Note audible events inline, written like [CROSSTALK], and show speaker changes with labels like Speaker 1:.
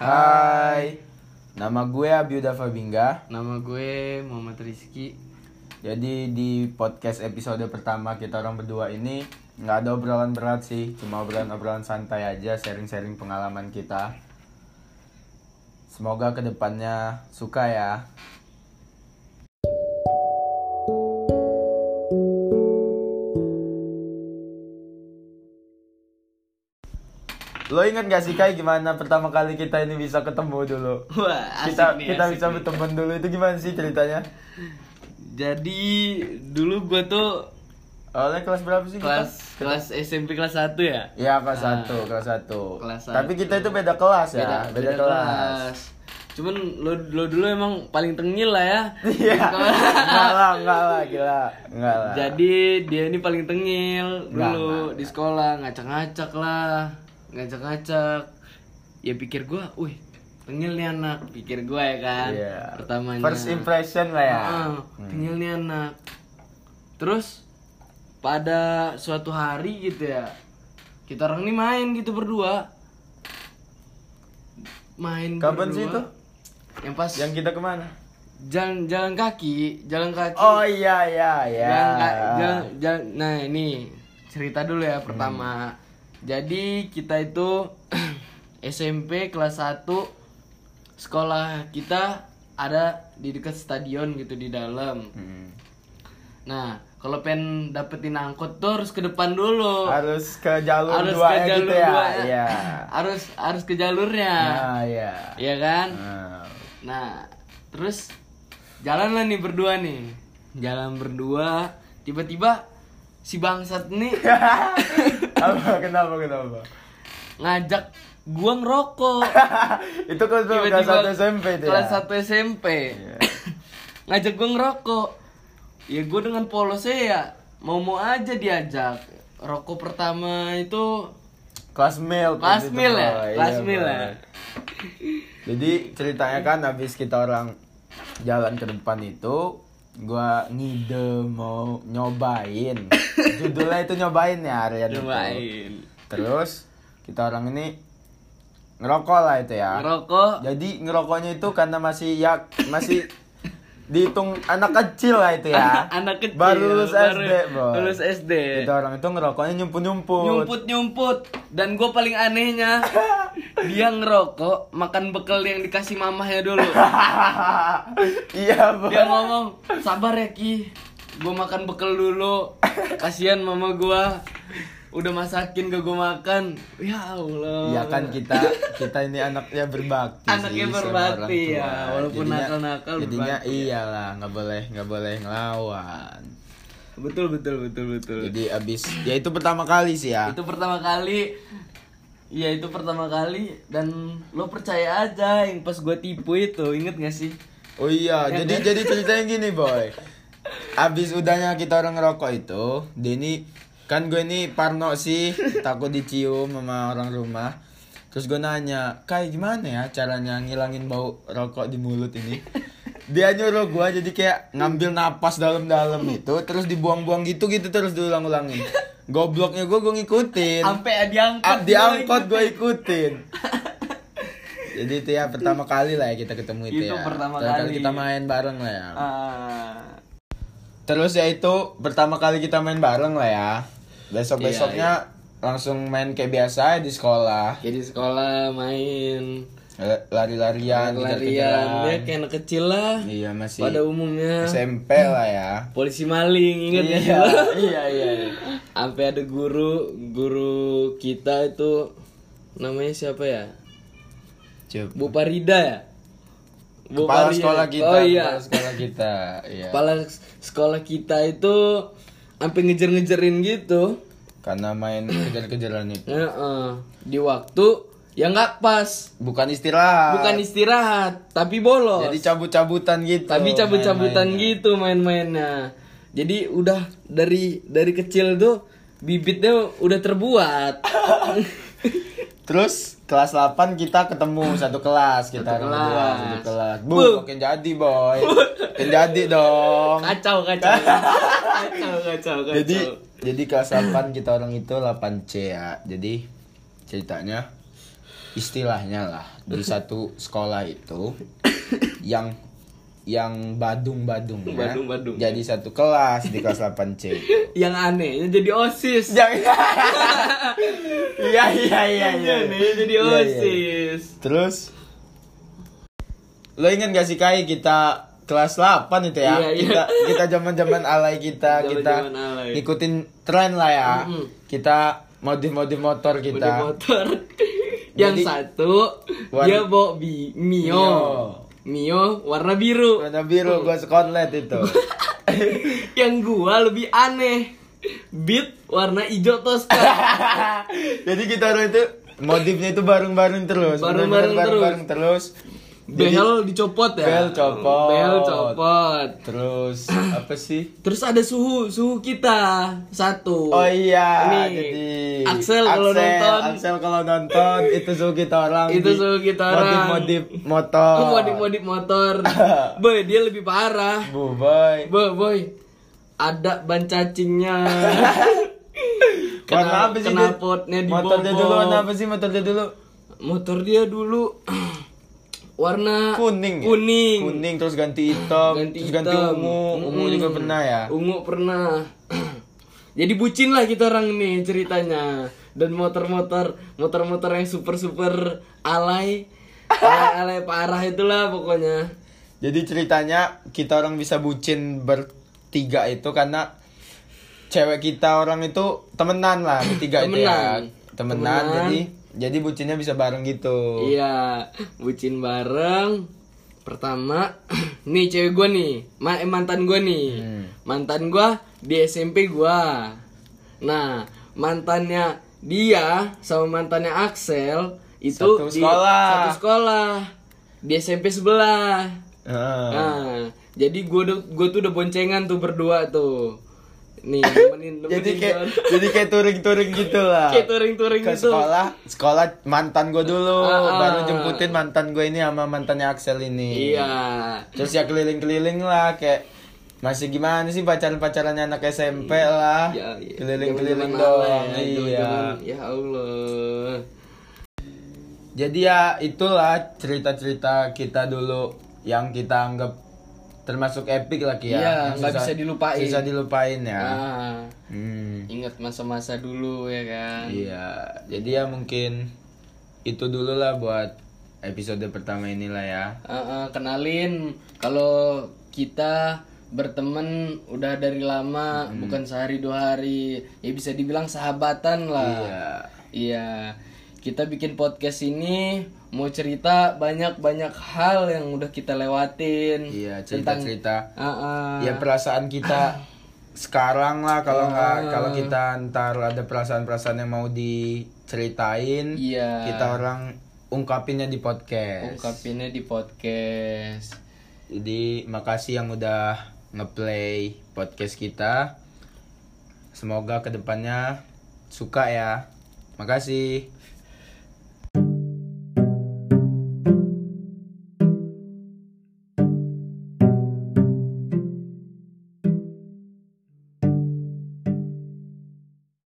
Speaker 1: Hai, nama gue Abiuda Fabingga.
Speaker 2: Nama gue Muhammad Rizky.
Speaker 1: Jadi di podcast episode pertama kita orang berdua ini nggak ada obrolan berat sih, cuma obrolan-obrolan santai aja, sharing-sharing pengalaman kita. Semoga kedepannya suka ya. Lo inget gak sih Kai gimana pertama kali kita ini bisa ketemu dulu?
Speaker 2: Wah, asik
Speaker 1: kita
Speaker 2: nih,
Speaker 1: kita
Speaker 2: asik
Speaker 1: bisa
Speaker 2: nih.
Speaker 1: berteman dulu itu gimana sih ceritanya?
Speaker 2: Jadi dulu gue tuh
Speaker 1: Awalnya kelas berapa sih kita?
Speaker 2: kelas kelas SMP kelas 1 ya?
Speaker 1: Ya kelas
Speaker 2: Ah.
Speaker 1: 1, kelas 1.
Speaker 2: Kelas
Speaker 1: Tapi
Speaker 2: satu.
Speaker 1: kita itu beda kelas ya, beda, kelas.
Speaker 2: Cuman lo lo dulu emang paling tengil lah ya.
Speaker 1: [LAUGHS] Iya. enggak lah, enggak lah, gila. Enggak lah.
Speaker 2: Jadi dia ini paling
Speaker 1: Enggak,
Speaker 2: tengil
Speaker 1: enggak,
Speaker 2: dulu di sekolah ngacak-ngacak lah, ngacak-ngacak. Ya pikir gue, wih tengil nih anak, pikir gue ya kan.
Speaker 1: Iya.
Speaker 2: Pertamanya. Ah.
Speaker 1: First impression lah ya.
Speaker 2: Heeh, tinggal nih anak. Terus pada suatu hari gitu ya, kita orang ini main gitu berdua. Main
Speaker 1: Kapan
Speaker 2: berdua.
Speaker 1: sih itu?
Speaker 2: Yang pas
Speaker 1: Yang kita kemana?
Speaker 2: jalan jalan kaki, jalan kaki.
Speaker 1: Oh iya iya iya.
Speaker 2: Jalan ka- jalan- jalan- nah ini cerita dulu ya
Speaker 1: Hmm.
Speaker 2: pertama. Jadi kita itu [CLEARS THROAT] SMP kelas 1 sekolah kita ada di dekat stadion gitu di dalam.
Speaker 1: Hmm.
Speaker 2: Nah, kalau pengen dapetin angkot tuh harus ke depan dulu.
Speaker 1: Harus ke jalur
Speaker 2: Harus
Speaker 1: dua
Speaker 2: ke
Speaker 1: ya
Speaker 2: jalur
Speaker 1: gitu ya.
Speaker 2: dua. [LAUGHS]
Speaker 1: Iya.
Speaker 2: harus harus ke jalurnya.
Speaker 1: Nah, iya.
Speaker 2: Iya kan?
Speaker 1: Nah.
Speaker 2: Nah, terus jalan lah nih berdua nih. Jalan berdua, tiba-tiba si bangsat
Speaker 1: [LAUGHS]
Speaker 2: nih
Speaker 1: [LAUGHS] Apa kenapa kenapa?
Speaker 2: ngajak gua
Speaker 1: [LAUGHS]
Speaker 2: ngerokok.
Speaker 1: itu kelas berapa? kelas
Speaker 2: Tiba-tiba
Speaker 1: 1 SMP itu
Speaker 2: Kelas
Speaker 1: ya.
Speaker 2: 1 SMP.
Speaker 1: Iya.
Speaker 2: ngajak gua ngerokok. Ya gua dengan polosnya ya mau-mau aja diajak. Rokok pertama itu
Speaker 1: Kelas mil.
Speaker 2: Kelas
Speaker 1: gitu,
Speaker 2: mil ya?
Speaker 1: Boy.
Speaker 2: Kelas
Speaker 1: Iya,
Speaker 2: mil
Speaker 1: Boy.
Speaker 2: ya?
Speaker 1: Jadi ceritanya kan habis kita orang jalan ke depan itu gua ngide mau
Speaker 2: [LAUGHS]
Speaker 1: nyobain. Judulnya itu nyobain ya Aryan itu.
Speaker 2: nyobain.
Speaker 1: Terus kita orang ini ngerokok lah itu ya.
Speaker 2: Ngerokok [LAUGHS]
Speaker 1: Jadi ngerokoknya itu karena masih ya masih dihitung anak kecil lah itu ya.
Speaker 2: [LAUGHS] anak kecil.
Speaker 1: Baru lulus
Speaker 2: baru
Speaker 1: SD, Boy.
Speaker 2: Lulus SD.
Speaker 1: Kita orang itu ngerokoknya nyumput-nyumput.
Speaker 2: Nyumput-nyumput dan gue paling anehnya
Speaker 1: [LAUGHS]
Speaker 2: dia ngerokok makan bekal yang dikasih mamahnya
Speaker 1: [LAUGHS]
Speaker 2: dulu.
Speaker 1: iya, Boy.
Speaker 2: Dia ngomong, "Sabar ya Ki. Gue makan bekal dulu. Kasihan mama gua udah masakin gak gue makan." Ya Allah.
Speaker 1: Iya kan kita kita ini anaknya berbakti.
Speaker 2: Anaknya
Speaker 1: sih sama
Speaker 2: berbakti,
Speaker 1: orang tua.
Speaker 2: ya. Walaupun
Speaker 1: Jadinya-
Speaker 2: nakal-nakal
Speaker 1: Jadinya
Speaker 2: berbakti.
Speaker 1: iyalah, nggak boleh nggak boleh ngelawan.
Speaker 2: Betul betul betul betul.
Speaker 1: Jadi abis ya itu pertama kali sih ya.
Speaker 2: Itu pertama kali Iya itu pertama kali dan lo percaya aja yang pas gue tipu itu inget gak sih?
Speaker 1: Oh iya, jadi jadi ceritanya gini boy. Abis udahnya kita orang ngerokok itu, Denny kan gue ini parno sih, takut dicium sama orang rumah. Terus gue nanya, kayak gimana ya caranya ngilangin bau rokok di mulut ini? Dia nyuruh gue jadi kayak ngambil napas dalam-dalam itu, terus dibuang-buang gitu gitu terus diulang-ulangin. Gobloknya gue gue ngikutin.
Speaker 2: Sampai diangkut.
Speaker 1: Ah, diangkut gue ikutin. Jadi itu ya pertama kali lah ya kita ketemu itu,
Speaker 2: Itu
Speaker 1: ya.
Speaker 2: pertama kali.
Speaker 1: kita main bareng lah ya.
Speaker 2: Ah.
Speaker 1: Terus ya itu pertama kali kita main bareng lah ya. Besok
Speaker 2: Iya,
Speaker 1: besoknya langsung main kayak biasa ya di sekolah.
Speaker 2: Jadi sekolah main
Speaker 1: L- Lari-larian,
Speaker 2: larian ya
Speaker 1: kejar-kejaran.
Speaker 2: kayak anak kecil lah
Speaker 1: Iya masih
Speaker 2: pada umumnya
Speaker 1: SMP lah ya.
Speaker 2: polisi maling inget ya [LAUGHS]
Speaker 1: iya iya.
Speaker 2: sampai ada guru guru kita itu namanya siapa ya
Speaker 1: Cep.
Speaker 2: Bu Parida ya Bu
Speaker 1: Kepala
Speaker 2: Parida.
Speaker 1: sekolah kita,
Speaker 2: oh iya
Speaker 1: kepala sekolah kita. Iya.
Speaker 2: kepala sekolah kita itu sampai ngejer-ngejerin gitu
Speaker 1: Karena main kejar-kejaran itu
Speaker 2: Heeh. di waktu yang nggak pas
Speaker 1: bukan istirahat.
Speaker 2: bukan istirahat tapi bolos
Speaker 1: Jadi cabut-cabutan gitu.
Speaker 2: tapi cabut-cabutan
Speaker 1: main-mainnya.
Speaker 2: gitu main-mainnya jadi udah dari dari kecil tuh bibitnya udah terbuat
Speaker 1: Terus kelas 8 kita ketemu satu kelas kita orang
Speaker 2: Satu
Speaker 1: berdua,
Speaker 2: kelas.
Speaker 1: satu kelas. Bu,
Speaker 2: Bu.
Speaker 1: makin jadi boy. Makin jadi dong.
Speaker 2: [LAUGHS] kacau kacau kacau kacau kacau
Speaker 1: Jadi jadi kelas 8 kita orang itu 8C ya. Jadi ceritanya istilahnya lah di satu sekolah itu yang yang badung-badung ya.
Speaker 2: Badung-badung.
Speaker 1: jadi satu kelas di kelas
Speaker 2: [LAUGHS]
Speaker 1: 8C
Speaker 2: Yang anehnya jadi OSIS.
Speaker 1: jangan iya iya iya iya
Speaker 2: Anehnya jadi
Speaker 1: Iya, iya, iya.
Speaker 2: OSIS.
Speaker 1: terus lo ingat gak sih kai kita kelas 8 itu ya
Speaker 2: Iya, iya.
Speaker 1: kita kita zaman zaman alay kita
Speaker 2: [LAUGHS] Zaman-zaman
Speaker 1: kita
Speaker 2: alay.
Speaker 1: ngikutin tren lah ya
Speaker 2: Mm-mm.
Speaker 1: kita modif-modif motor kita
Speaker 2: Udah
Speaker 1: [LAUGHS]
Speaker 2: motor. Yang
Speaker 1: Jadi-
Speaker 2: satu
Speaker 1: Warna-
Speaker 2: dia bawa bi- Mio.
Speaker 1: Mio.
Speaker 2: Mio. warna biru.
Speaker 1: warna biru gua sekotlet itu
Speaker 2: [LAUGHS] Yang gua lebih aneh. Beat warna hijau toska.
Speaker 1: jadi kita orang itu modifnya itu bareng-bareng terus
Speaker 2: Bareng-bareng
Speaker 1: bener-bener
Speaker 2: terus.
Speaker 1: bareng-bareng terus [LAUGHS] Jadi-
Speaker 2: Bel dicopot ya.
Speaker 1: Bel copot.
Speaker 2: Bel copot.
Speaker 1: terus apa sih
Speaker 2: Terus ada suhu, suhu kita satu.
Speaker 1: Oh iya,
Speaker 2: Nih,
Speaker 1: jadi
Speaker 2: Axel kalau nonton.
Speaker 1: Axel kalau nonton itu suhu kita orang.
Speaker 2: Itu suhu kita
Speaker 1: Modif
Speaker 2: orang.
Speaker 1: modif motor.
Speaker 2: Oh, modif-modif
Speaker 1: [LAUGHS]
Speaker 2: motor. boy, dia lebih parah.
Speaker 1: Bu boy.
Speaker 2: Boy, boy. Ada ban
Speaker 1: [LAUGHS]
Speaker 2: cacingnya.
Speaker 1: Warna apa sih? Dit?
Speaker 2: knalpotnya dibobok.
Speaker 1: Motornya dulu warna apa sih? Motornya dulu
Speaker 2: Motor dia dulu [CLEARS THROAT] warna
Speaker 1: kuning. ya?
Speaker 2: Kuning.
Speaker 1: Kuning terus ganti hitam,
Speaker 2: Ganti
Speaker 1: terus ganti
Speaker 2: hitam.
Speaker 1: ungu. Ungu
Speaker 2: Mm-mm.
Speaker 1: juga pernah ya.
Speaker 2: Ungu pernah. [CLEARS THROAT] Jadi bucin lah kita orang nih ceritanya. Dan motor-motor, motor-motor yang super-super alay. alay, alay parah itulah pokoknya.
Speaker 1: Jadi ceritanya kita orang bisa bucin bertiga itu karena cewek kita orang itu temenan lah bertiga itu ya. Temenan.
Speaker 2: Temenan. Temenan.
Speaker 1: Jadi jadi bucinnya bisa bareng gitu.
Speaker 2: Iya, bucin bareng. Pertama, [CLEARS THROAT] nih cewek gue nih, ma- eh, mantan gue nih.
Speaker 1: Hmm.
Speaker 2: Mantan gue di SMP gue. Nah, mantannya dia sama mantannya Axel itu
Speaker 1: Satu
Speaker 2: di-
Speaker 1: sekolah.
Speaker 2: satu sekolah di SMP sebelah.
Speaker 1: Heeh.
Speaker 2: Nah, jadi gue gue tuh udah boncengan tuh berdua tuh. Nih,
Speaker 1: [LAUGHS]
Speaker 2: nemenin, nemenin
Speaker 1: jadi kayak
Speaker 2: gua.
Speaker 1: jadi kayak touring-touring gitu lah
Speaker 2: kayak touring-touring
Speaker 1: ke
Speaker 2: gitu.
Speaker 1: sekolah sekolah mantan gue dulu
Speaker 2: Ah, ah.
Speaker 1: baru jemputin mantan gue ini sama mantannya Axel ini
Speaker 2: Iya.
Speaker 1: terus ya keliling-keliling lah kayak masih gimana sih pacaran-pacarannya anak SMP lah
Speaker 2: Ya, iya.
Speaker 1: keliling-keliling
Speaker 2: Zaman-zaman
Speaker 1: doang
Speaker 2: alay,
Speaker 1: iya
Speaker 2: zaman-zaman- Ya Allah.
Speaker 1: jadi ya itulah cerita-cerita kita dulu yang kita anggap termasuk epic lah Ki, ya
Speaker 2: Iya,
Speaker 1: Yang
Speaker 2: nggak
Speaker 1: susah-
Speaker 2: bisa dilupain.
Speaker 1: susah dilupain ya
Speaker 2: Ah,
Speaker 1: hmm.
Speaker 2: ingat masa-masa dulu ya kan.
Speaker 1: Iya, jadi ya mungkin itu dulu lah buat episode pertama inilah ya.
Speaker 2: Ah, ah, kenalin kalau kita berteman udah dari lama, bukan sehari dua hari. Ya bisa dibilang sahabatan lah.
Speaker 1: Iya.
Speaker 2: Iya, kita bikin podcast ini mau cerita banyak-banyak hal yang udah kita lewatin.
Speaker 1: Iya,
Speaker 2: Tentang-
Speaker 1: cerita-cerita.
Speaker 2: Ah, ah.
Speaker 1: Ya perasaan kita
Speaker 2: [COUGHS]
Speaker 1: sekarang lah kalau nggak
Speaker 2: Ah.
Speaker 1: kalau kita ntar ada perasaan-perasaan yang mau diceritain,
Speaker 2: Iya.
Speaker 1: kita orang ungkapinnya di podcast.
Speaker 2: Ungkapinnya di podcast.
Speaker 1: Jadi makasih yang udah ngeplay podcast kita. Semoga kedepannya suka ya. Makasih.